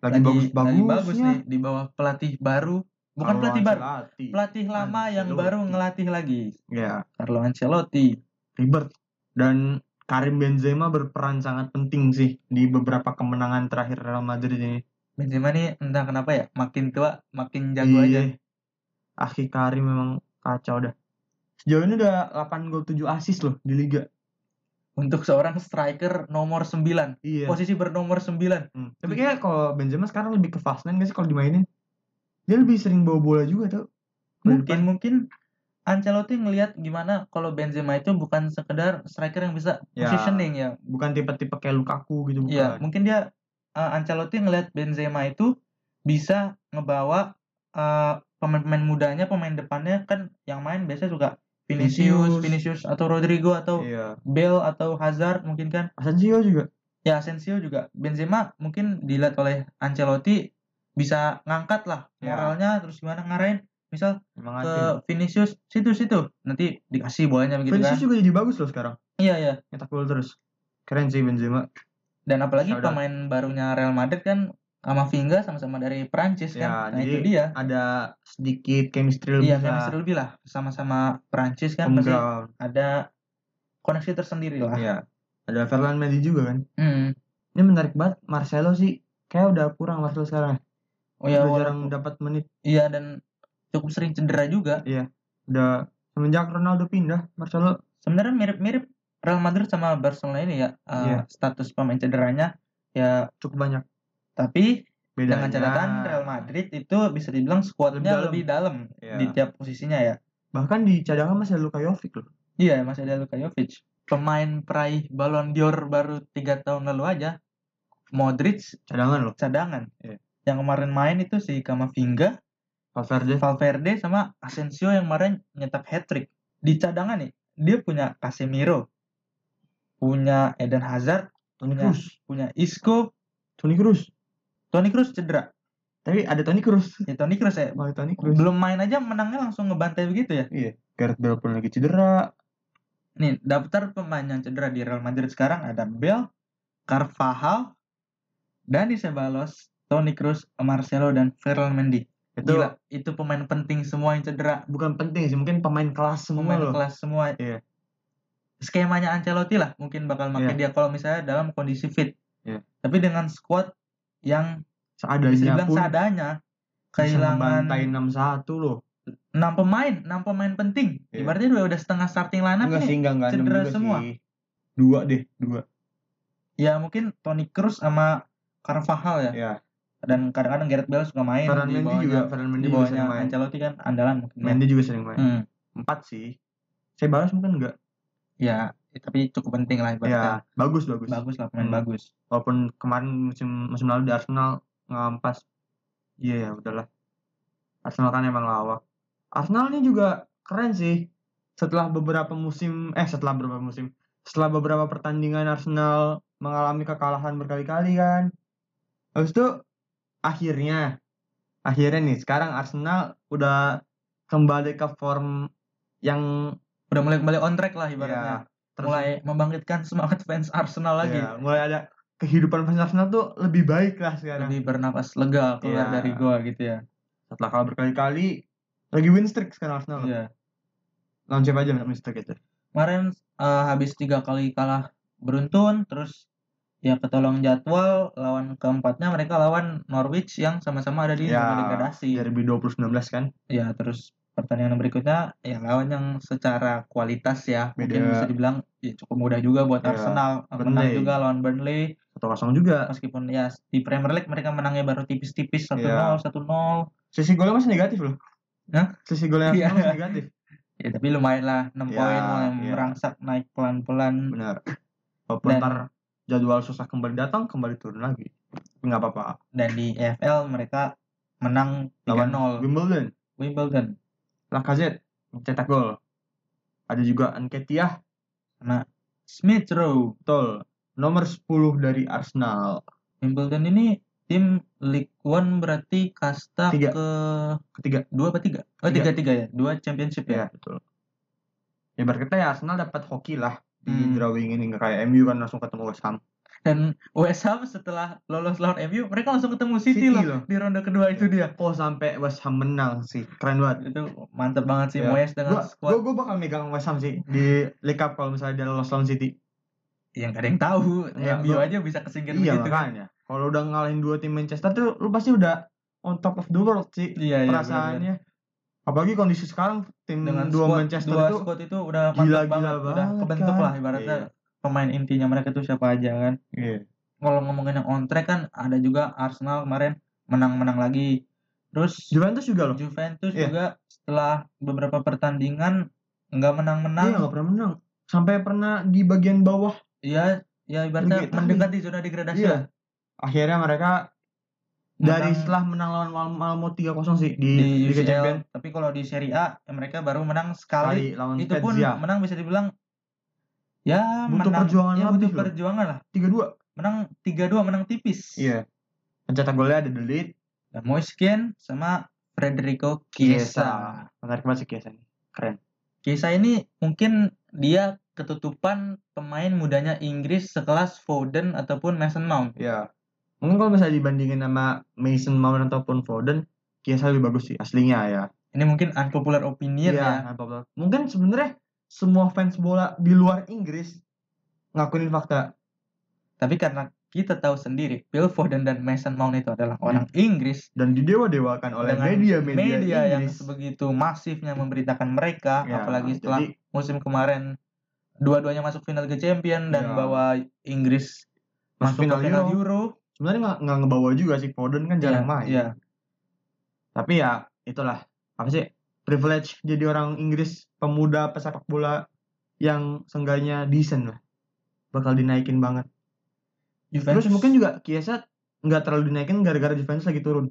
B: lagi lagi bagus
A: bagus-bagusnya
B: nih di bawah pelatih baru, bukan
A: Carlo
B: pelatih baru,
A: Ancelotti.
B: pelatih lama yang
A: Ancelotti.
B: baru ngelatih lagi.
A: ya
B: Carlo Ancelotti.
A: ribet dan Karim Benzema berperan sangat penting sih di beberapa kemenangan terakhir Real Madrid ini.
B: Benzema nih entah kenapa ya makin tua makin jago aja.
A: Iya. Aki Karim memang kacau dah. Sejauh ini udah 8 gol 7 assist loh di liga.
B: Untuk seorang striker nomor 9,
A: Iya.
B: posisi bernomor 9.
A: Hmm. Tapi kayaknya kalau Benzema sekarang lebih ke fast line gak sih kalau dimainin? Dia lebih sering bawa bola juga tuh. Ke
B: Mungkin
A: depan.
B: mungkin Ancelotti ngelihat gimana kalau Benzema itu bukan sekedar striker yang bisa
A: Ya.
B: positioning ya.
A: bukan tipe-tipe kayak Lukaku gitu bukan
B: Iya, mungkin dia uh, Ancelotti ngelihat Benzema itu bisa ngebawa uh, pemain-pemain mudanya, pemain depannya kan yang main biasanya juga
A: Vinicius.
B: Vinicius, Vinicius atau Rodrigo atau
A: iya
B: Bale atau Hazard mungkin kan.
A: Asensio juga
B: Ya Asensio juga Benzema mungkin dilihat oleh Ancelotti bisa ngangkat lah
A: Ya.
B: moralnya terus gimana ngarahin misal
A: emang
B: ke gitu
A: aja
B: Vinicius situ situ nanti dikasih bolanya begitu
A: Vinicius
B: kan.
A: juga jadi bagus loh sekarang
B: Iya iya.
A: nyetak gol terus keren sih Benzema
B: dan apalagi
A: Shout out.
B: pemain barunya Real Madrid kan sama Vinga sama-sama dari Prancis
A: Ya,
B: kan nah
A: jadi
B: itu dia
A: ada sedikit chemistry lebih
B: iya
A: lah.
B: chemistry lebih lah sama-sama Prancis kan
A: Home
B: pasti
A: ground.
B: ada koneksi tersendiri lah
A: Iya. ada Ferland Mendy juga kan
B: Hmm.
A: ini menarik banget Marcelo sih kayak udah kurang Marcelo sekarang
B: oh
A: udah
B: ya wala-
A: jarang dapat menit
B: iya dan cukup sering cedera juga
A: udah semenjak Ronaldo pindah Marcelo
B: sebenarnya mirip-mirip Real Madrid sama Barcelona ini ya eh,
A: Iya.
B: status pemain cederanya ya
A: cukup banyak
B: tapi
A: bedanya
B: dengan catatan Real Madrid itu bisa dibilang squadnya
A: Lebih
B: lebih dalam
A: Iya.
B: di tiap posisinya ya
A: bahkan di cadangan masih ada Luka Jovic loh
B: Iya, masih ada Luka Jovic. Pemain peraih Ballon d'Or baru tiga tahun lalu aja. Modric
A: cadangan loh
B: cadangan.
A: Iya.
B: Yang kemarin main itu si Kamavinga,
A: Valverde
B: Valverde sama Asensio yang kemarin nyetak hat-trick. Di cadangan nih, dia punya Casemiro, punya Eden Hazard,
A: Toni
B: Iya.
A: Kroos
B: punya Isco,
A: Toni Kroos
B: Toni Kroos cedera.
A: tapi ada Toni Kroos
B: Ya Toni Kroos ya,
A: Wah, Toni Kroos
B: belum main aja menangnya langsung ngebantai begitu ya.
A: Gareth Bale pun lagi cedera
B: Nih, daftar pemain yang cedera di Real Madrid sekarang ada Bale, Carvajal, Dani Ceballos, Toni Kroos, Marcelo, dan Ferland Mendy.
A: itu
B: Gila, itu pemain penting semua yang cedera.
A: bukan penting sih mungkin pemain kelas semua
B: Pemain
A: loh
B: kelas semua.
A: Iya.
B: Skemanya Ancelotti lah, mungkin bakal pakai dia kalau misalnya dalam kondisi fit.
A: Iya.
B: Tapi dengan squad yang bisa
A: seadanya
B: dibilang
A: pun
B: seadanya,
A: bisa
B: kehilangan
A: membantai 6-1 loh
B: 6 pemain, 6 pemain penting.
A: Iya.
B: Ibaratnya udah, udah setengah starting lineup
A: enggak
B: nih.
A: sih enggak enggak enam
B: cedera
A: juga
B: semua.
A: sih. dua deh dua
B: Ya mungkin Toni Kroos sama Carvajal ya.
A: ya
B: dan kadang-kadang Gareth Bale suka main
A: Ferran
B: di
A: Mendy
B: bawahnya
A: juga Ferran Mendy
B: di
A: juga
B: bawahnya
A: sering main
B: Ancelotti kan andalan mungkin ya.
A: Mendy Iya. juga sering main
B: Hmm,
A: empat sih saya balas mungkin enggak
B: ya tapi cukup penting lah ibaratnya
A: ya bagus bagus
B: bagus lah pemain
A: Hmm.
B: bagus
A: walaupun kemarin musim musim lalu di Arsenal ngampas iya ya udahlah Arsenal kan emang lawak Arsenal ini juga keren sih setelah beberapa musim eh setelah beberapa musim setelah beberapa pertandingan Arsenal mengalami kekalahan berkali-kali kan habis itu akhirnya akhirnya nih sekarang Arsenal udah kembali ke form yang
B: udah mulai kembali on track lah ibaratnya
A: ya, terus-
B: mulai membangkitkan semangat fans Arsenal lagi
A: ya, mulai ada kehidupan fans Arsenal tuh lebih baik lah sekarang
B: lebih bernapas lega keluar
A: Iya.
B: dari gol gitu ya
A: setelah kalah berkali-kali lagi win streak sekarang Arsenal
B: Iya.
A: lawan siapa aja win streak itu
B: kemarin eh, habis tiga kali kalah beruntun terus ya ketolong jadwal lawan keempatnya mereka lawan Norwich yang sama-sama ada di
A: Ya,
B: zona degradasi
A: dari 2019 kan
B: Ya, terus pertandingan berikutnya ya lawan yang secara kualitas ya mungkin
A: Beda.
B: bisa dibilang ya, cukup mudah juga buat
A: Ya,
B: Arsenal
A: Burnley.
B: menang juga lawan Burnley
A: atau kosong juga
B: meskipun ya di Premier League mereka menangnya baru tipis-tipis 1-0
A: Ya.
B: 1-0
A: sisi golnya masih negatif loh
B: Hah?
A: sisi golnya
B: Iya.
A: Arsenal masih negatif
B: ya tapi lumayan lah 6
A: Ya,
B: poin mulai
A: ya.
B: merangsak naik pelan-pelan
A: benar walaupun
B: Dan-
A: ntar jadwal susah kembali datang kembali turun lagi Tapi nggak apa-apa
B: dan di EFL mereka menang
A: lawan
B: 3-0
A: Wimbledon
B: Wimbledon
A: Lacazette cetak gol ada juga Nketiah
B: Smith Rowe
A: betul nomor 10 dari Arsenal
B: Wimbledon ini tim League One berarti kasta
A: Tiga.
B: ke
A: ketiga
B: dua apa tiga? Oh
A: Tiga.
B: tiga tiga ya, dua championship
A: ya
B: ya.
A: betul ya berkata ya Arsenal dapat hoki lah di
B: Hmm.
A: drawing ini nggak kayak MU kan langsung ketemu West Ham
B: dan West Ham setelah lolos lawan MU mereka langsung ketemu City, loh di ronde kedua itu dia
A: Kok Oh, sampai West Ham menang sih? Keren banget.
B: itu mantep banget sih
A: Ya.
B: Moyes
A: Gua,
B: dengan squad
A: gua, gua bakal megang West Ham sih di League Cup kalau misalnya dia lolos lawan City.
B: yang gak ada yang tahu
A: Enggak,
B: MU
A: Iya, gua-
B: aja bisa kesingkir
A: iya
B: begitu kan
A: makanya. Kalau udah ngalahin dua tim Manchester tuh lu pasti udah on top of the world sih
B: iya iya benar-benar.
A: perasaannya. Apalagi kondisi sekarang tim
B: dengan
A: dua
B: squad,
A: Manchester
B: dua
A: itu
B: squad itu udah mantap
A: gila-gila
B: banget, udah
A: banget
B: kebentuk
A: kan.
B: lah ibaratnya pemain intinya mereka tuh siapa aja kan
A: Iya.
B: kalau ngomongin yang on track kan ada juga Arsenal kemarin menang-menang lagi terus
A: Juventus juga loh.
B: Juventus
A: Iya.
B: juga setelah beberapa pertandingan nggak menang-menang
A: Iya nggak pernah menang. Sampai pernah di bagian bawah.
B: ya ya ibaratnya
A: Begitu.
B: mendekati zona degradasi lah.
A: Iya. Akhirnya mereka dari
B: Menang
A: setelah menang lawan Mal- Malmo 3-0 sih di,
B: di
A: Liga
B: UCL
A: Champions
B: tapi kalau di Serie A ya mereka baru menang sekali
A: kali lawan
B: itu pun
A: Spezia
B: menang bisa dibilang ya
A: Butuh
B: menang
A: perjuangan
B: ya,
A: lebih
B: butuh
A: loh.
B: perjuangan lah
A: 3-2.
B: menang 3-2 menang tipis
A: Iya. Pencetak golnya ada Delit,
B: Dan Moiskin sama Federico Chiesa
A: Chiesa. Menarik banget sih Chiesa ini. Keren.
B: Chiesa ini mungkin dia ketutupan pemain mudanya Inggris sekelas Foden ataupun Mason Mount
A: Iya. Mungkin kalau misalnya dibandingin sama Mason Mount ataupun Foden, Chiesa lebih bagus sih aslinya ya.
B: ini mungkin unpopular opinion ya
A: tanpa bola. Mungkin sebenarnya semua fans bola di luar Inggris ngakuin fakta.
B: tapi karena kita tahu sendiri Phil Foden dan Mason Mount itu adalah orang Inggris
A: Dan didewa-dewakan oleh
B: Dengan
A: media-media
B: media, yang
A: Inggris.
B: sebegitu masifnya memberitakan mereka
A: Ya,
B: apalagi setelah
A: jadi,
B: musim kemarin dua-duanya masuk final ke Champion
A: Ya.
B: dan bawa Inggris
A: Masuk
B: masuk,
A: final
B: ke final
A: Euro.
B: Euro.
A: sebenarnya nggak nggak ngebawa juga sih Foden kan jarang
B: Iya,
A: main.
B: iya.
A: Tapi ya itulah apa sih privilege jadi orang Inggris pemuda pesepak bola yang seenggaknya decent lah. Bakal dinaikin banget.
B: Juventus
A: Terus mungkin juga Kiesa nggak terlalu dinaikin gara-gara Juventus lagi turun,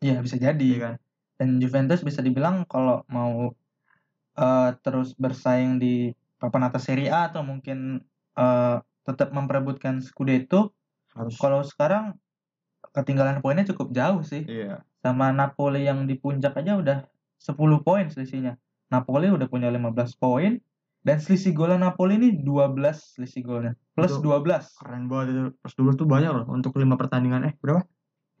B: ya bisa jadi
A: iya kan?
B: dan Juventus bisa dibilang kalau mau eh, terus bersaing di papan atas Serie A atau mungkin eh, tetap memperebutkan Scudetto
A: Harus.
B: kalau sekarang ketinggalan poinnya cukup jauh sih
A: Iya.
B: sama Napoli yang di puncak aja udah 10 poin selisihnya. Napoli udah punya 15 poin dan selisih golnya Napoli ini 12 selisih golnya. Plus
A: Itu-
B: 12.
A: Keren banget itu. Plus 12 tuh banyak loh untuk lima pertandingan. Eh berapa?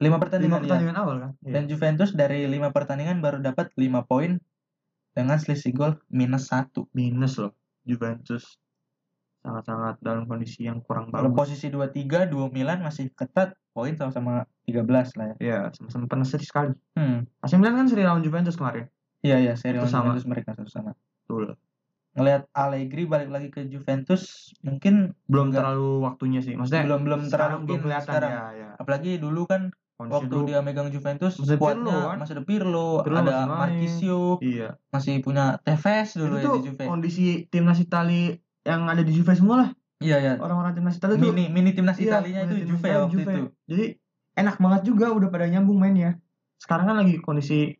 B: 5
A: Lima
B: pertandingan, ya.
A: pertandingan awal kan? Iya.
B: Dan Juventus dari 5 pertandingan baru dapat 5 poin dengan selisih gol minus 1.
A: Minus loh Juventus. Sangat-sangat dalam kondisi yang kurang
B: Kalau
A: bagus.
B: posisi 23, 2 Milan masih ketat, poin sama-sama 13 lah ya.
A: Iya, sama-sama pernah seri sekali.
B: Hmm.
A: AC Milan kan seri lawan Juventus kemarin.
B: Iya iya, seri
A: Itu
B: lawan
A: sama.
B: Juventus mereka satu sama.
A: Betul.
B: Ngelihat Allegri balik lagi ke Juventus, mungkin
A: Belum
B: Enggak.
A: terlalu waktunya sih. Maksudnya
B: belum belum
A: sekarang
B: terlalu
A: belum
B: in
A: kelihatan
B: sekarang.
A: ya, ya.
B: Apalagi dulu kan
A: Kondisi
B: waktu
A: dulu.
B: dia megang Juventus
A: Masih ada
B: kuatnya
A: Pirlo, kan?
B: masih ada Pirlo,
A: Pirlo
B: ada
A: masih main.
B: Marquisio,
A: Iya.
B: masih punya Tevez dulu
A: Itu
B: ya
A: tuh
B: di Juve.
A: kondisi timnas Itali yang ada di Juve semua lah.
B: Iya ya.
A: Orang-orang timnas Itali tuh
B: Mini mini timnas
A: Iya,
B: Italinya itu
A: mini timnas
B: Juve
A: Itali,
B: ya waktu
A: Juve.
B: itu.
A: Jadi enak banget juga udah pada nyambung mainnya. Sekarang kan lagi kondisi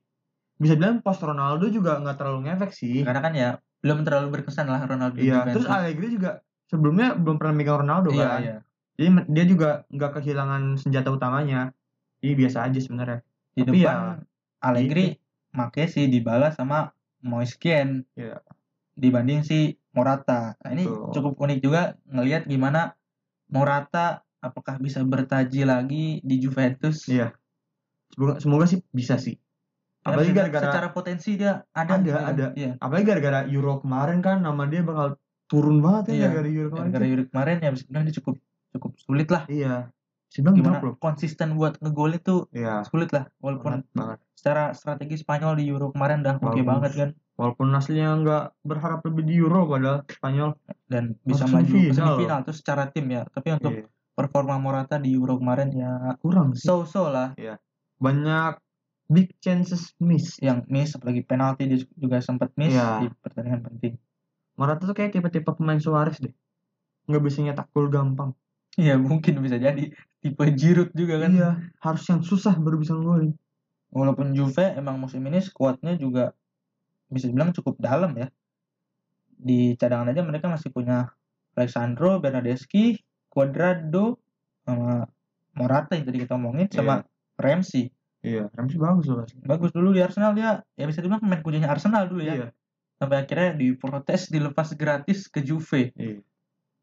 A: bisa bilang post Ronaldo juga nggak terlalu ngefek sih.
B: Karena kan ya belum terlalu berkesan lah Ronaldo di
A: Iya.
B: Juventus.
A: Terus Allegri juga sebelumnya belum pernah megang Ronaldo
B: iya,
A: kan.
B: iya.
A: Jadi men- dia juga nggak kehilangan senjata utamanya. Jadi biasa aja sebenarnya.
B: Di
A: Tapi
B: depan
A: ya,
B: Allegri make sih dibalas sama Moiskin.
A: Iya.
B: Dibanding si Morata. Nah, ini
A: Betul.
B: cukup unik juga ngelihat gimana Morata apakah bisa bertaji lagi di Juventus.
A: Iya. Semoga, semoga sih bisa sih.
B: Karena
A: Apalagi
B: bisa-
A: gara-gara
B: secara potensi dia ada
A: Ada,
B: gitu kan.
A: ada.
B: Iya.
A: apalagi gara-gara Euro kemarin kan nama dia bakal turun banget
B: Iya,
A: ya gara-gara Euro
B: Dan
A: kemarin.
B: gara Yuri kemarin ya bisa dibilang dia cukup cukup sulit lah.
A: Iya. Sedang
B: Gimana
A: drop loh.
B: konsisten buat ngegol itu
A: Iya.
B: sulit lah. Walaupun
A: Banget, banget.
B: secara strategi Spanyol di Euro kemarin udah oke
A: nah. Bagus.
B: banget kan
A: Walaupun hasilnya nggak berharap lebih di Euro padahal Spanyol.
B: dan bisa
A: Masuk
B: maju ke
A: semifinal.
B: semifinal itu secara tim ya. Tapi untuk
A: Iya.
B: performa Morata di Euro kemarin ya
A: Kurang sih.
B: so-so lah
A: Banyak big chances miss.
B: yang miss apalagi penalti dia juga sempat miss
A: Iya.
B: di pertandingan penting.
A: Morata tuh kayak tipe-tipe pemain Suarez deh. Nggak bisa nyetak gol gampang.
B: Iya, mungkin bisa jadi tipe Giroud juga kan.
A: Iya. Harus yang susah baru bisa ngegolin.
B: Walaupun Juve emang musim ini skuadnya juga bisa dibilang cukup dalam ya. Di cadangan aja mereka masih punya Alexandro, Bernadeschi, Cuadrado, sama Morata yang tadi kita omongin, sama Ramsey.
A: Iya. Ramsey bagus loh. asli.
B: Bagus dulu di Arsenal dia, ya bisa dibilang pemain kuncinya Arsenal dulu ya.
A: Iya.
B: Sampai akhirnya diprotes, dilepas gratis ke Juve.
A: Iya.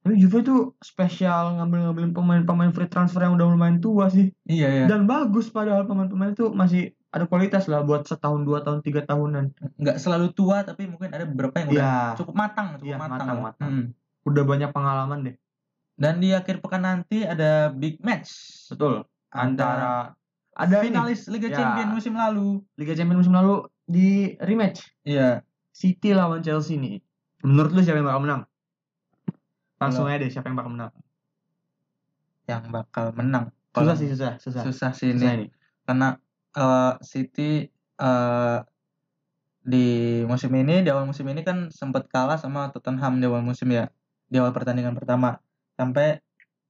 A: Tapi Juve tuh spesial ngambil-ngambilin pemain-pemain free transfer yang udah lumayan tua sih.
B: Iya ya,
A: Dan bagus padahal pemain-pemain itu masih ada kualitas lah buat setahun, dua tahun, tiga tahunan.
B: nggak selalu tua tapi mungkin ada beberapa yang udah
A: Iya.
B: cukup matang, cukup
A: Iya,
B: matang. lah.
A: matang-matang.
B: Hmm.
A: Udah banyak pengalaman deh.
B: Dan di akhir pekan nanti ada big match.
A: Betul.
B: Antara
A: Antara ada ini,
B: finalis Liga
A: Ya.
B: Champions musim lalu.
A: Liga Champions musim lalu di rematch
B: Iya,
A: City lawan Chelsea nih. Menurut lu siapa yang bakal menang? Langsung aja deh siapa yang bakal menang.
B: yang bakal menang.
A: Susah
B: Kalau-
A: sih susah, susah.
B: susah sih
A: Susah
B: ini
A: ini.
B: karena eh, City eh, di musim ini di awal musim ini kan sempat kalah sama Tottenham di awal musim ya di awal pertandingan pertama sampai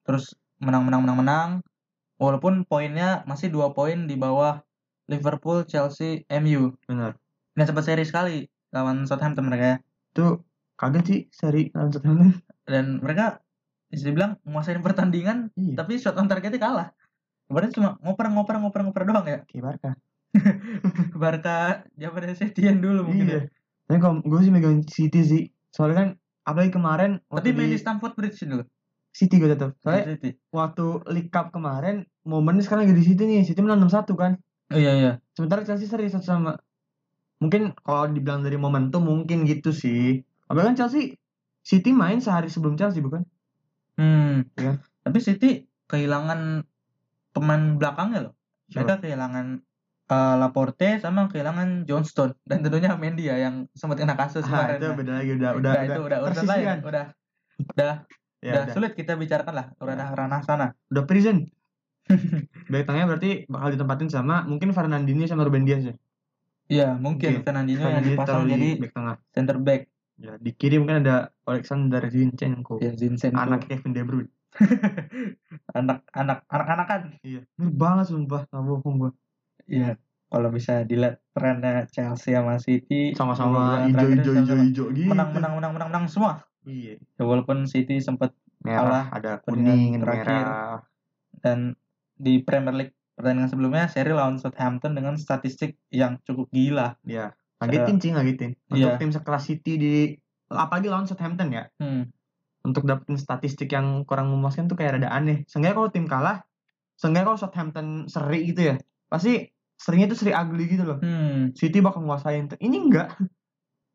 B: terus menang menang menang menang walaupun poinnya masih dua poin di bawah Liverpool Chelsea MU
A: benar
B: dan sempat seri sekali lawan Southampton mereka ya
A: itu kaget sih seri lawan Southampton
B: dan mereka bisa dibilang menguasai pertandingan
A: iya
B: tapi shot on targetnya kalah kemarin cuma ngoper ngoper ngoper ngoper doang ya
A: kayak Barca
B: Barca Japan Setian dulu mungkin ya.
A: iya tapi kalau gue sih megang City sih soalnya kan apalagi kemarin
B: tapi
A: waktu
B: main di
A: di
B: Stamford Bridge dulu
A: City gue tetap soalnya
B: City.
A: waktu League Cup kemarin momennya sekarang lagi di City nih City menang 6-1 kan
B: Oh, iya iya
A: sementara Chelsea seri satu sama mungkin kalau dibilang dari momentum mungkin gitu sih apalagi kan Chelsea City main sehari sebelum Chelsea bukan
B: hmm
A: Iya.
B: tapi City kehilangan pemain belakangnya loh
A: Siapa?
B: mereka kehilangan eh, Laporte sama kehilangan Johnstone dan tentunya Mendy ya yang sempat kena kasus
A: ah,
B: kemarin
A: itu
B: Nah,
A: beda lagi udah udah
B: nah, itu udah urusan lain
A: persisian.
B: udah udah
A: ya,
B: udah
A: udah, Ya.
B: sulit kita bicarakan lah udah ranah sana
A: udah prison back tengahnya berarti bakal ditempatin sama mungkin Fernandinho sama Ruben Dias ya
B: Iya, mungkin
A: Mungkin.
B: Fernandinho
A: Fernandinho
B: yang dipasang
A: taruh di
B: jadi
A: back tengah
B: center back.
A: ya di kiri mungkin ada Alexander Zinchenko
B: Ya, Zinchenko.
A: anak Kevin De Bruyne
B: anak anak anak anakan.
A: iya mirip banget sumpah nggak bohong gua
B: Iya, kalau bisa dilihat trennya Chelsea sama City
A: sama-sama
B: beberapa bulan terakhir
A: hijau-hijau
B: sama-sama
A: hijau-hijau gitu
B: Menang menang menang menang menang semua.
A: iya
B: Ya, walaupun City sempat
A: merah ada kuning
B: pertandingan terakhir.
A: merah
B: dan di Premier League pertandingan sebelumnya seri lawan Southampton dengan statistik yang cukup gila.
A: Ya, ngagetin sih ngagetin. Untuk
B: Iya.
A: tim sekelas City di apalagi lawan Southampton ya,
B: Hmm.
A: untuk dapetin statistik yang kurang memuaskan tuh kayak rada aneh. Seenggaknya kalau tim kalah, seenggaknya kalau Southampton seri gitu ya, pasti serinya tuh seri ugly gitu loh.
B: Hmm.
A: City bakal nguasain. tuh. Ini enggak.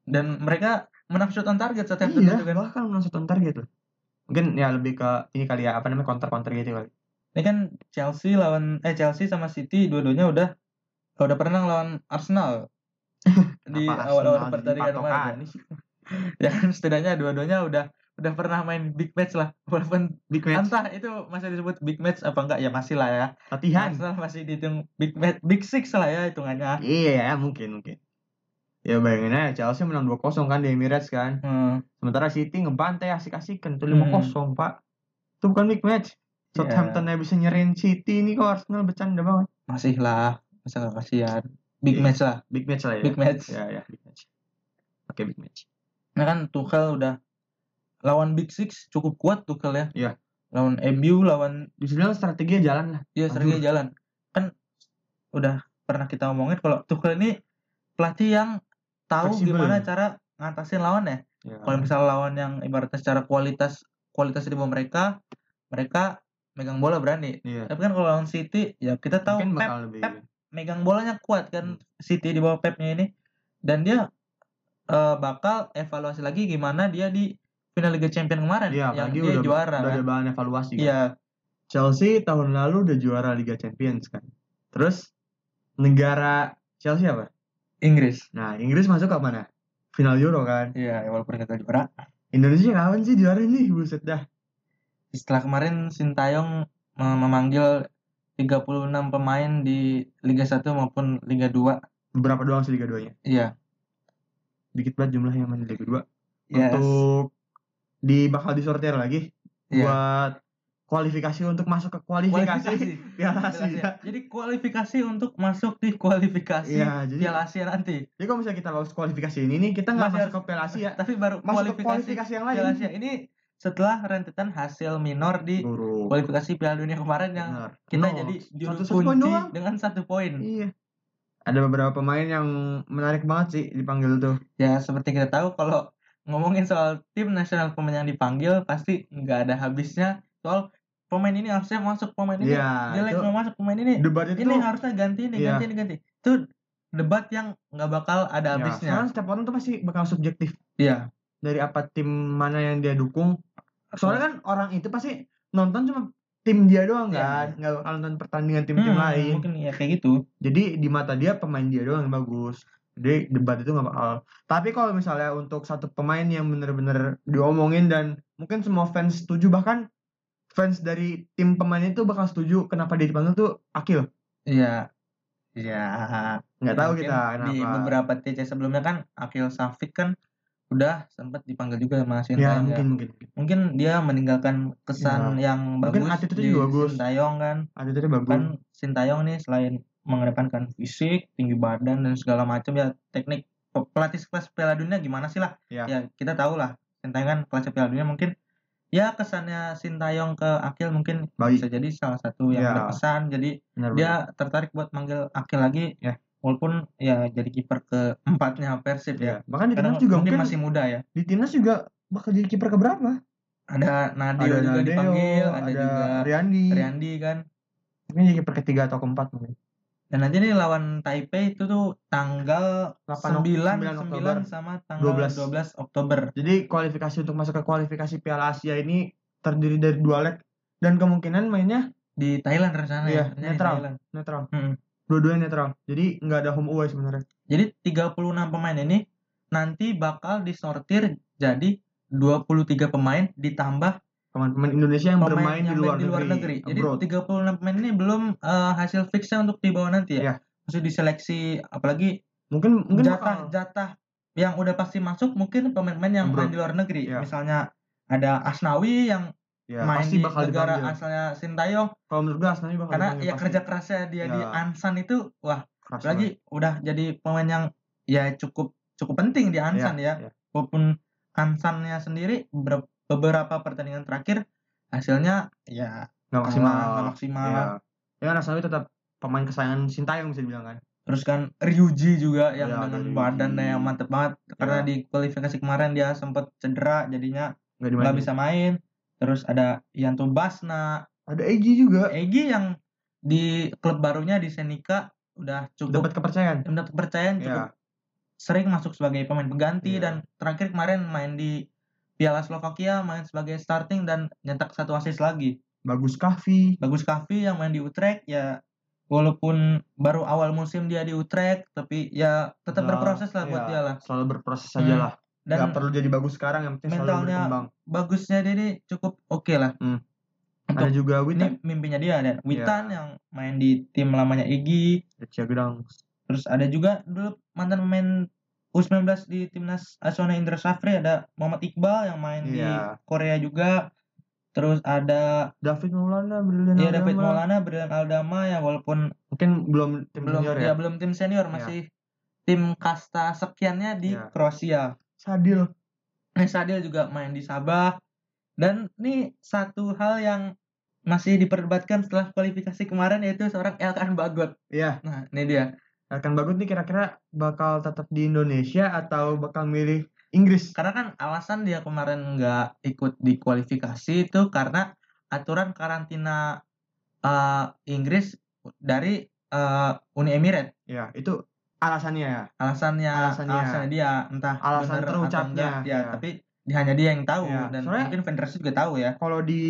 B: Dan mereka menang shot on target Southampton
A: Iya,
B: itu kan.
A: bahkan menang Southampton target loh. Mungkin ya lebih ke ini kali ya, apa namanya counter-counter gitu kali.
B: Ini kan Chelsea lawan eh Chelsea sama City dua-duanya udah udah pernah lawan Arsenal di
A: Kenapa
B: awal-awal
A: Arsenal
B: pertandingan
A: dipatokan
B: kemarin.
A: sih?
B: Ya kan setidaknya dua-duanya udah udah pernah main big match lah walaupun
A: Big match.
B: entah itu masih disebut big match apa enggak ya masih lah ya.
A: Latihan.
B: Arsenal masih dihitung big match big six lah ya hitungannya.
A: Iya, mungkin mungkin. Ya bayangin aja Chelsea menang 2-0 kan di Emirates kan.
B: Hmm,
A: Sementara City ngebantai asik-asikan tuh
B: Hmm. Iya.
A: 5-0, Pak. Itu bukan big match. Southampton aja bisa nyerain City ini kok Arsenal bercanda banget.
B: masih lah masa nggak kasihan big
A: Iya.
B: match lah
A: Big match lah ya.
B: big match.
A: Ya, ya, big match. Oke, big match.
B: Nah kan Tuchel udah lawan big six cukup kuat Tuchel ya.
A: Iya.
B: Lawan MU lawan
A: Bisa bilang strategi jalan lah.
B: Iya seringnya jalan. Kan udah pernah kita omongin kalau Tuchel ini pelatih yang tahu
A: Fleksibel.
B: gimana cara ngatasin lawan ya.
A: Ya.
B: Kalau misalnya lawan yang ibaratnya secara kualitas kualitas di bawah mereka, mereka megang bola berani.
A: Iya.
B: Tapi kan kalau lawan City ya kita tahu
A: Mungkin
B: Pep
A: bakal Hmm. lebih
B: Pep. kan megang bolanya kuat kan City di bawah Pepnya ini dan dia eh, bakal evaluasi lagi gimana dia di final Liga Champions kemarin
A: Iya,
B: yang
A: apalagi
B: dia
A: udah,
B: juara
A: udah
B: kan.
A: ada bahan evaluasi kan.
B: Iya,
A: Chelsea tahun lalu udah juara Liga Champions kan. Terus negara Chelsea apa?
B: Inggris.
A: Nah, Inggris masuk ke mana? Final Euro kan.
B: Iya, walaupun kita juara
A: Indonesia kapan sih juara nih? Buset dah.
B: setelah kemarin Sintayong mem- memanggil 36 pemain di Liga 1 maupun Liga 2.
A: Berapa doang sih Liga 2-nya?
B: Iya.
A: Dikit banget jumlahnya yang main di Liga 2.
B: Yes.
A: untuk di bakal disortir lagi
B: Iya.
A: buat kualifikasi untuk masuk ke kualifikasi Piala
B: Kualifikasi.
A: Asia.
B: iya. Jadi kualifikasi untuk masuk di kualifikasi
A: Iya, jadi
B: Piala Asia nanti.
A: jadi kalau misalnya kita lolos kualifikasi ini nih, kita nggak
B: Masih
A: masuk ke Piala Asia,
B: Tapi baru
A: ya. masuk ke
B: kualifikasi,
A: kualifikasi yang lain.
B: Piala Asia ini setelah rentetan hasil minor di
A: Buruk.
B: kualifikasi Piala Dunia kemarin yang
A: Benar.
B: kita
A: No.
B: jadi juru
A: Satu-satu Iya. poin
B: kunci
A: doang.
B: dengan satu poin.
A: Iya. Ada beberapa pemain yang menarik banget sih dipanggil tuh.
B: Ya seperti kita tahu kalau ngomongin soal tim nasional pemain yang dipanggil pasti nggak ada habisnya soal pemain ini harusnya masuk pemain ini
A: Iya.
B: jelek
A: itu
B: nggak masuk pemain ini
A: Debat itu
B: ini harusnya ganti ini
A: Iya.
B: ganti ini ganti itu debat yang nggak bakal
A: ya,
B: ada habisnya
A: soalnya setiap orang tuh pasti bakal subjektif
B: iya
A: dari apa tim mana yang dia dukung. Soalnya kan orang itu pasti nonton cuma tim dia doang kan,
B: Iya.
A: nggak bakal nonton pertandingan tim-tim
B: Hmm,
A: lain.
B: mungkin ya kayak gitu
A: Jadi di mata dia pemain dia doang yang bagus. Jadi debat itu nggak bakal. Tapi kalau misalnya untuk satu pemain yang bener-bener diomongin dan mungkin semua fans setuju bahkan fans dari tim pemain itu bakal setuju kenapa dia dipanggil tuh Akil.
B: iya Ya,
A: nggak tahu
B: mungkin
A: kita
B: Di
A: kenapa.
B: beberapa TC sebelumnya kan Akil Safik kan udah sempat dipanggil juga sama Shin
A: ya
B: Taeyong
A: mungkin mungkin
B: Mungkin dia meninggalkan kesan yang
A: Mungkin
B: bagus
A: attitude-nya
B: di
A: juga bagus.
B: Shin Taeyong kan.
A: attitude bagus
B: Kan Shin Taeyong nih selain mengedepankan fisik, tinggi badan dan segala macam ya teknik pe- pelatih kelas Piala Dunia gimana sih lah.
A: Ya.
B: kita tahu lah. Shin Taeyong kan kelas Piala Dunia mungkin ya kesannya Shin Taeyong ke Akil mungkin
A: baik
B: bisa Ya, jadi salah satu yang
A: Ya.
B: berkesan. Jadi
A: benar
B: dia tertarik buat manggil Akil lagi
A: Ya.
B: walaupun ya jadi kiper keempatnya Persib
A: ya
B: ya
A: bahkan di
B: karena
A: timnas juga
B: mungkin,
A: mungkin
B: masih muda ya
A: di timnas juga bakal jadi kiper keberapa
B: ada Nadio
A: ada
B: juga
A: Nadeo,
B: dipanggil ada,
A: ada,
B: juga
A: Riandi
B: Riandi kan
A: mungkin jadi kiper ketiga atau keempat mungkin
B: dan nanti nih lawan Taipei itu tuh tanggal
A: 8 9
B: 9, 9
A: Oktober
B: sama tanggal
A: 12.
B: 12, Oktober
A: Jadi kualifikasi untuk masuk ke kualifikasi Piala Asia ini terdiri dari dua leg dan kemungkinan mainnya
B: di Thailand rencana
A: Iya,
B: ya rencananya di
A: netral.
B: Thailand.
A: netral.
B: Mm-mm.
A: Dua-duanya netral. Jadi nggak ada home away sebenarnya.
B: jadi 36 pemain ini nanti bakal disortir jadi 23 pemain ditambah
A: Pemain-pemain Indonesia yang
B: pemain
A: bermain
B: yang
A: di luar,
B: di luar negeri.
A: negeri,
B: Jadi
A: abroad.
B: 36 pemain ini belum eh, hasil fixnya untuk dibawa nanti ya.
A: Iya.
B: Maksudnya diseleksi apalagi
A: Mungkin mungkin bakal-
B: jatah-jatah yang udah pasti masuk mungkin pemain-pemain yang main
A: Abroad.
B: di luar negeri.
A: Iya.
B: Misalnya ada Asnawi yang
A: ya,
B: main
A: pasti
B: di
A: bakal
B: negara
A: dipanggil.
B: asalnya Sintayong
A: Kalau menurut gue Asnawi bakal
B: karena
A: dipanggil
B: ya
A: pasti.
B: kerja kerasnya dia di
A: Iya.
B: Ansan itu wah
A: Keras banget.
B: apalagi udah jadi pemain yang ya cukup cukup penting di Ansan ya.
A: Iya.
B: Walaupun Ansannya sendiri ber- beberapa pertandingan terakhir hasilnya ya
A: Nggak maksimal.
B: kalah, nggak maksimal.
A: Iya. Ya, Asnawi tetap pemain kesayangan Sintayong bisa dibilang kan.
B: Terus kan Ryuji juga yang
A: Ya, ada
B: dengan
A: Ryuji. Ya.
B: badannya yang mantep banget karena di kualifikasi kemarin dia sempat cedera jadinya
A: Nggak
B: nggak
A: dimainin.
B: bisa main. Terus ada Yanto Basna,
A: Ada Egy juga.
B: Egi yang di klub barunya di Senika udah
A: Dapat
B: cukup
A: kepercayaan.
B: mendapat kepercayaan
A: Ya,
B: cukup sering masuk sebagai pemain pengganti
A: Iya.
B: dan terakhir kemarin main di Piala Slovakia main sebagai starting dan nyetak satu assist lagi.
A: bagus Kahfi.
B: Bagus Kahvi yang main di Utrecht ya walaupun baru awal musim dia di Utrecht tapi ya tetap
A: Nah,
B: berproses lah buat
A: iya,
B: dia lah.
A: Selalu berproses aja
B: Hmm.
A: lah.
B: dan
A: nggak perlu jadi bagus sekarang yang penting selalu
B: mentalnya
A: berkembang.
B: bagusnya dia ini cukup oke lah.
A: Hmm. Ada
B: Untuk
A: juga
B: ini
A: Witan,
B: mimpinya dia dan
A: Iya.
B: Witan yang main di tim lamanya Igi,
A: ada Ciagedang,
B: terus ada juga dulu mantan pemain U19 di timnas Aswana Indra Safri ada Muhammad Iqbal yang main di
A: Iya.
B: Korea juga. Terus ada
A: David Iya, Maulana, Brilian
B: dia David
A: Aldama.
B: Maulana, Brilian Aldama ya walaupun
A: Mungkin belum tim
B: belum
A: senior
B: dia
A: ya.
B: belum tim senior masih tim kasta sekiannya di
A: Iya.
B: Kroasia.
A: Sadil.
B: Nes Sadil juga main di Sabah. Dan ini satu hal yang masih diperdebatkan setelah kualifikasi kemarin yaitu seorang Elkan Bagot.
A: Iya,
B: Nah, ini dia.
A: akan bagus nih kira-kira bakal tetap di Indonesia atau bakal milih Inggris.
B: Karena kan alasan dia kemarin nggak ikut di kualifikasi itu karena aturan karantina eh, Inggris dari eh, Uni Emirat.
A: Ya, itu alasannya ya.
B: Alasannya
A: Alasannya.
B: alasannya dia entah
A: Alasan
B: bener
A: terucapnya,
B: ya,
A: ya.
B: tapi hanya dia yang tahu
A: Ya,
B: dan
A: soalnya-
B: mungkin federasi juga tahu ya.
A: Kalau di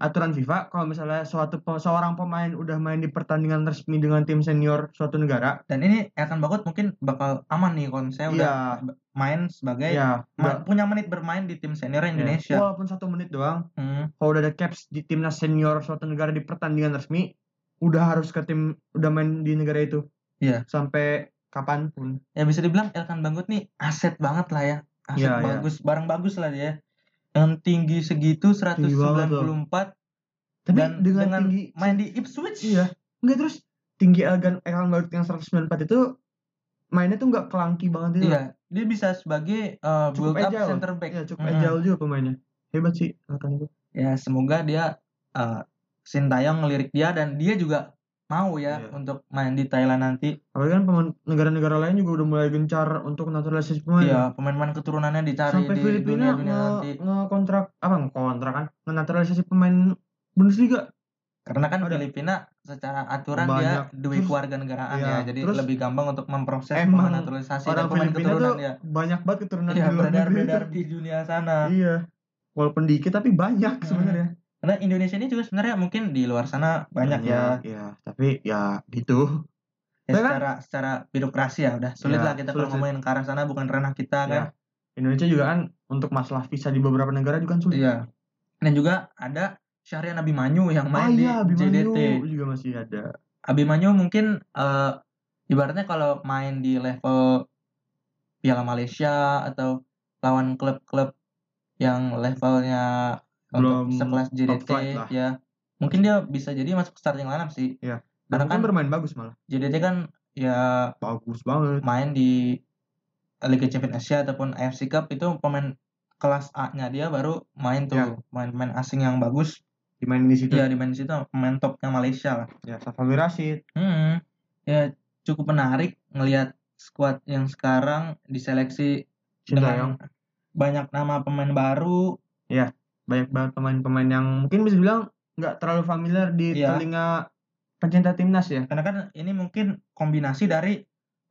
A: aturan FIFA, kalau misalnya suatu pe- seorang pemain udah main di pertandingan resmi dengan tim senior suatu negara,
B: Dan ini Elkan Bagot mungkin bakal aman nih kalau misalnya udah
A: iya,
B: main sebagai
A: iya,
B: Ma-
A: nggak-
B: punya menit bermain di tim senior
A: ya.
B: Indonesia.
A: Walaupun satu menit doang,
B: Hmm.
A: kalau udah ada caps di timnas senior suatu negara di pertandingan resmi udah harus ke tim udah main di negara itu
B: Iya.
A: sampai kapanpun
B: Ya bisa dibilang Elkan Bagot nih aset banget lah ya. Aset
A: Iya, iya.
B: bagus, barang bagus lah dia. Yang tinggi segitu
A: Tinggi banget loh.
B: 194
A: tapi
B: dan
A: dengan,
B: dengan
A: tinggi
B: main di Ipswich.
A: iya nggak terus tinggi Elgan Elkan Baut yang 194 itu mainnya tuh nggak kelangki banget itu
B: Iya, dia bisa sebagai uh,
A: Cukup
B: build up
A: agile.
B: center back.
A: Iya, cukup
B: Mm-mm.
A: agile juga pemainnya hebat sih Elkan itu
B: Ya, semoga dia uh, Sintayong ngelirik dia dan dia juga mau ya
A: Iya.
B: untuk main di Thailand nanti.
A: apalagi kan pemain negara-negara lain juga udah mulai gencar untuk naturalisasi pemain
B: Iya, pemain-pemain keturunannya dicari
A: Oh, sampai
B: di
A: Filipina Oh.
B: dunia-dunia nanti.
A: nge- ngekontrak apa ngekontrak kan ngenaturalisasi pemain Bundesliga
B: Karena kan
A: Ada.
B: Filipina secara aturan dia
A: Banyak.
B: duit
A: Terus-
B: keluarga negaraan
A: iya,
B: ya, jadi
A: terus
B: lebih gampang untuk memproses
A: emang
B: naturalisasi
A: orang
B: dan pemain
A: Filipina
B: keturunan
A: tuh
B: ya.
A: banyak banget keturunan
B: Iya,
A: di luar negeri
B: beredar-beredar
A: itu.
B: di dunia sana.
A: iya walaupun dikit tapi banyak
B: Hmm,
A: sebenarnya
B: Karena Indonesia ini juga sebenarnya mungkin di luar sana banyak ya.
A: iya tapi ya gitu
B: Ya,
A: Tapi kan-
B: secara secara birokrasi ya udah sulit
A: Iya,
B: lah kita
A: sulit,
B: kalau
A: Iya.
B: ngomongin ke arah sana bukan ranah kita kan.
A: Indonesia juga kan untuk masalah visa di beberapa negara juga kan sulit
B: Iya. Dan juga ada Syahrian Abimanyu yang
A: ah
B: main di
A: iya Abimanyu
B: JDT.
A: juga masih ada
B: Abimanyu mungkin eh, ibaratnya kalau main di level Piala Malaysia atau lawan klub-klub yang levelnya
A: Belum
B: untuk sekelas JDT
A: flight lah.
B: ya mungkin dia bisa jadi masuk starting lineup sih
A: Iya. Dan
B: karena
A: mungkin
B: kan
A: bermain bagus malah.
B: JDT kan ya
A: Bagus banget.
B: main di Liga Champions Asia ataupun AFC Cup itu pemain kelas A-nya dia baru main tuh
A: Ya. Gitu.
B: main-main asing yang bagus
A: Dimainin di situ.
B: ya di main di situ pemain topnya Malaysia lah
A: Ya, Safawi Rashid.
B: Hmm, ya cukup menarik ngelihat skuad yang sekarang diseleksi
A: Sintayong.
B: dengan banyak nama pemain baru.
A: Banyak banget pemain-pemain yang mungkin bisa bilang nggak terlalu familiar di
B: Iya.
A: telinga pencinta timnas ya.
B: Karena kan ini mungkin kombinasi dari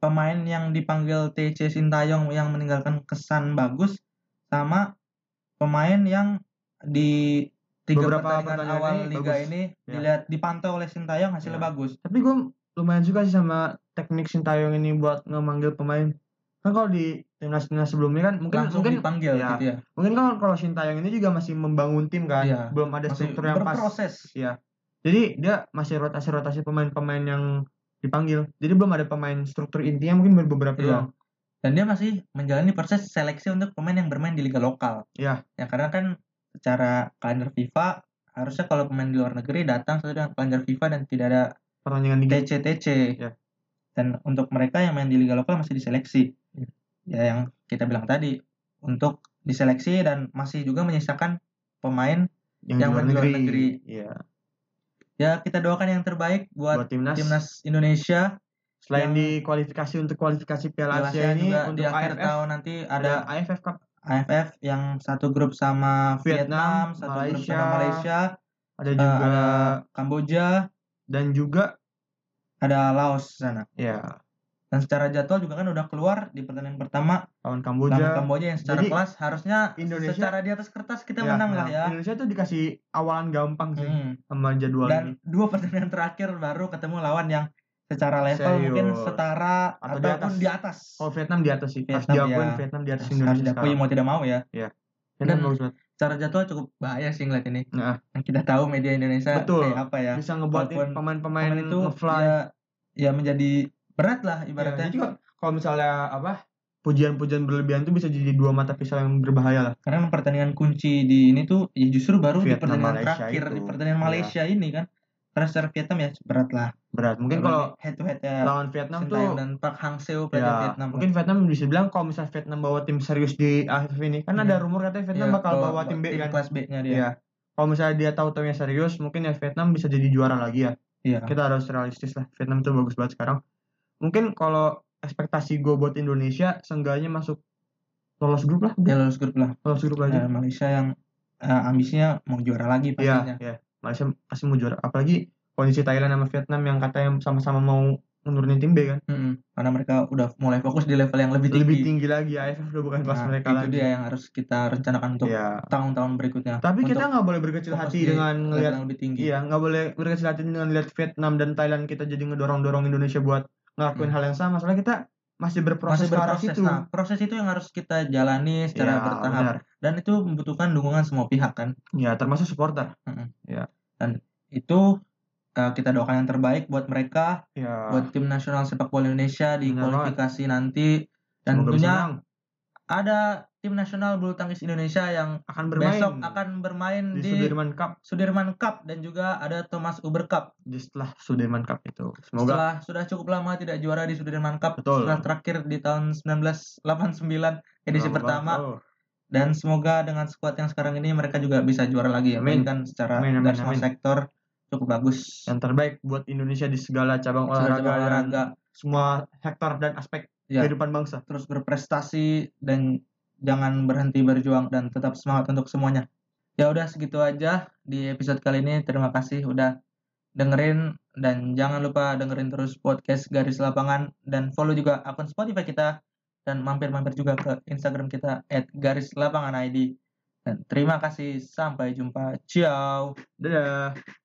B: pemain yang dipanggil TC Sintayong yang meninggalkan kesan bagus sama pemain yang di tiga
A: Beberapa
B: pertandingan
A: pertandingan
B: awal
A: ini
B: liga
A: bagus.
B: ini
A: Ya.
B: dilihat dipantau oleh Sintayong hasilnya
A: Ya.
B: bagus.
A: Tapi gue lumayan suka sih sama teknik Sintayong ini buat ngemanggil pemain. Kan kalau di timnas-timnas sebelumnya kan mungkin
B: Langsung
A: mungkin
B: dipanggil
A: ya,
B: gitu ya.
A: mungkin kan kalau Sintayong ini juga masih membangun tim kan.
B: Iya.
A: Belum ada
B: Masih
A: struktur yang pas.
B: berproses.
A: Jadi dia masih rotasi-rotasi pemain-pemain yang dipanggil. Jadi belum ada pemain struktur intinya mungkin baru beberapa
B: Iya.
A: doang.
B: dan dia masih menjalani proses seleksi untuk pemain yang bermain di liga lokal.
A: Iya.
B: Ya karena kan secara kalender FIFA harusnya kalau pemain di luar negeri datang sesuai dengan kalender FIFA dan tidak ada
A: Pertandingan di
B: TC TC.
A: Iya.
B: Dan untuk mereka yang main di liga lokal masih diseleksi.
A: Iya.
B: Ya yang kita bilang tadi untuk diseleksi dan masih juga menyisakan pemain
A: yang,
B: yang
A: di luar
B: di luar
A: negeri.
B: negeri.
A: Iya.
B: ya kita doakan yang terbaik buat,
A: Buat timnas.
B: timnas Indonesia
A: Selain
B: yang-
A: di kualifikasi untuk kualifikasi Piala
B: Piala
A: Asia ini
B: juga
A: untuk
B: di akhir
A: AFF
B: tahun nanti
A: ada
B: ada
A: AFF Cup
B: AFF yang satu grup sama Vietnam,
A: Vietnam,
B: satu grup
A: Malaysia,
B: sama Malaysia,
A: ada
B: eh,
A: juga
B: ada Kamboja,
A: dan juga
B: ada Laos sana.
A: ya
B: Dan secara jadwal juga kan udah keluar di pertandingan pertama
A: lawan
B: lawan
A: Kamboja.
B: Kamboja yang secara
A: Jadi,
B: kelas harusnya
A: Indonesia- nah,
B: secara di atas kertas kita menang lah ya.
A: Indonesia tuh dikasih awalan gampang sih
B: Hmm.
A: sama jadwal ini.
B: Dan dua pertandingan terakhir baru ketemu lawan yang secara level
A: Serius.
B: mungkin setara
A: Atau di
B: ataupun
A: atas.
B: di atas.
A: Kalau Vietnam di atas sih. Harus
B: Vietnam,
A: diakuin
B: ya.
A: Vietnam di atas
B: harus
A: Indonesia
B: diakui
A: sekarang.
B: mau tidak mau ya.
A: Vietnam
B: Dan-
A: bagus banget.
B: Secara jadwal cukup bahaya sih ngeliat ini.
A: Nah.
B: Yang kita tahu media Indonesia
A: Betul.
B: kayak apa ya.
A: Bisa ngebuat
B: walaupun
A: pemain-pemain
B: pemain itu
A: ngefly.
B: ya, ya menjadi berat lah
A: Ya,
B: ibaratnya
A: jadi kok- kalau misalnya apa pujian-pujian berlebihan tuh bisa jadi dua mata pisau yang berbahaya lah.
B: karena pertandingan kunci di ini tuh ya justru baru di
A: Vietnam,
B: pertandingan
A: Malaysia
B: terakhir
A: itu.
B: di pertandingan
A: Iya.
B: Malaysia ini kan karena secara Vietnam ya berat lah
A: Berat. Mungkin kalau
B: Apalagi head to head ya
A: lawan Vietnam tuh
B: Sintayong dan Park Hang Seo
A: ya,
B: pelajar Vietnam
A: mungkin Vietnam bisa bilang kalau misalnya Vietnam bawa tim serius di AFF ini kan ada
B: Hmm.
A: rumor katanya Vietnam
B: Ya,
A: bakal
B: kalau
A: bawa tim B kan.
B: kelas B nya dia
A: Iya. Kalau misalnya dia tahu timnya serius, mungkin ya Vietnam bisa jadi juara lagi ya.
B: iya
A: Kita harus realistis lah. Vietnam tuh bagus banget sekarang. Mungkin kalau ekspektasi gue buat Indonesia, seenggaknya masuk lolos grup lah.
B: dia lolos grup lah
A: Lolos grup aja.
B: Nah, Malaysia yang eh, ambisinya mau juara lagi
A: Iya,
B: pastinya
A: iya. Malaysia pasti mau juara. Apalagi kondisi Thailand sama Vietnam yang katanya sama-sama mau menurunin tim B kan.
B: Mm-mm. karena mereka udah mulai fokus di level yang lebih tinggi,
A: Lebih tinggi lagi AFF udah bukan kelas
B: Nah,
A: mereka
B: itu
A: lagi.
B: dia yang harus kita rencanakan untuk
A: Iya.
B: tahun-tahun berikutnya
A: Tapi kita
B: Untuk
A: nggak boleh berkecil
B: fokus
A: hati
B: di
A: dengan
B: level
A: ngelihat
B: yang lebih tinggi
A: iya, nggak boleh berkecil hati dengan lihat Vietnam dan Thailand kita jadi ngedorong-dorong Indonesia buat ngelakuin hal yang sama. Soalnya kita masih berproses
B: Iya. masih
A: ke arah
B: berproses.
A: situ.
B: Nah, proses itu yang harus kita jalani secara
A: Iya,
B: bertahap
A: benar.
B: dan itu membutuhkan dukungan semua pihak kan.
A: Ya, termasuk supporter.
B: Itu eh, kita doakan yang terbaik buat mereka,
A: Ya.
B: buat tim nasional sepak bola Indonesia di
A: Benar banget.
B: kualifikasi nanti
A: semoga bisa
B: dan tentunya
A: menang.
B: ada tim nasional bulu tangkis Indonesia yang
A: akan bermain
B: besok akan bermain
A: di
B: di,
A: Sudirman Cup,
B: Sudirman Cup dan juga ada Thomas Uber Cup.
A: di setelah Sudirman Cup itu. Semoga
B: Setelah sudah cukup lama tidak juara di Sudirman Cup,
A: Betul.
B: setelah terakhir di tahun 1989 edisi
A: Lama
B: pertama.
A: banget. Oh,
B: dan semoga dengan skuad yang sekarang ini mereka juga bisa juara lagi ya
A: Amin.
B: kan secara
A: Amin, amin,
B: dari semua
A: amin.
B: sektor cukup bagus
A: yang terbaik buat Indonesia di segala cabang
B: Segala
A: olahraga, ya.
B: cabang
A: dan
B: olahraga
A: semua sektor dan aspek
B: Ya.
A: kehidupan bangsa.
B: terus berprestasi dan jangan berhenti berjuang dan tetap semangat untuk semuanya ya udah segitu aja di episode kali ini terima kasih udah dengerin dan jangan lupa dengerin terus podcast garis lapangan dan follow juga akun Spotify kita dan mampir-mampir juga ke Instagram kita at garis lapangan ID dan terima kasih sampai jumpa ciao
A: Dadah.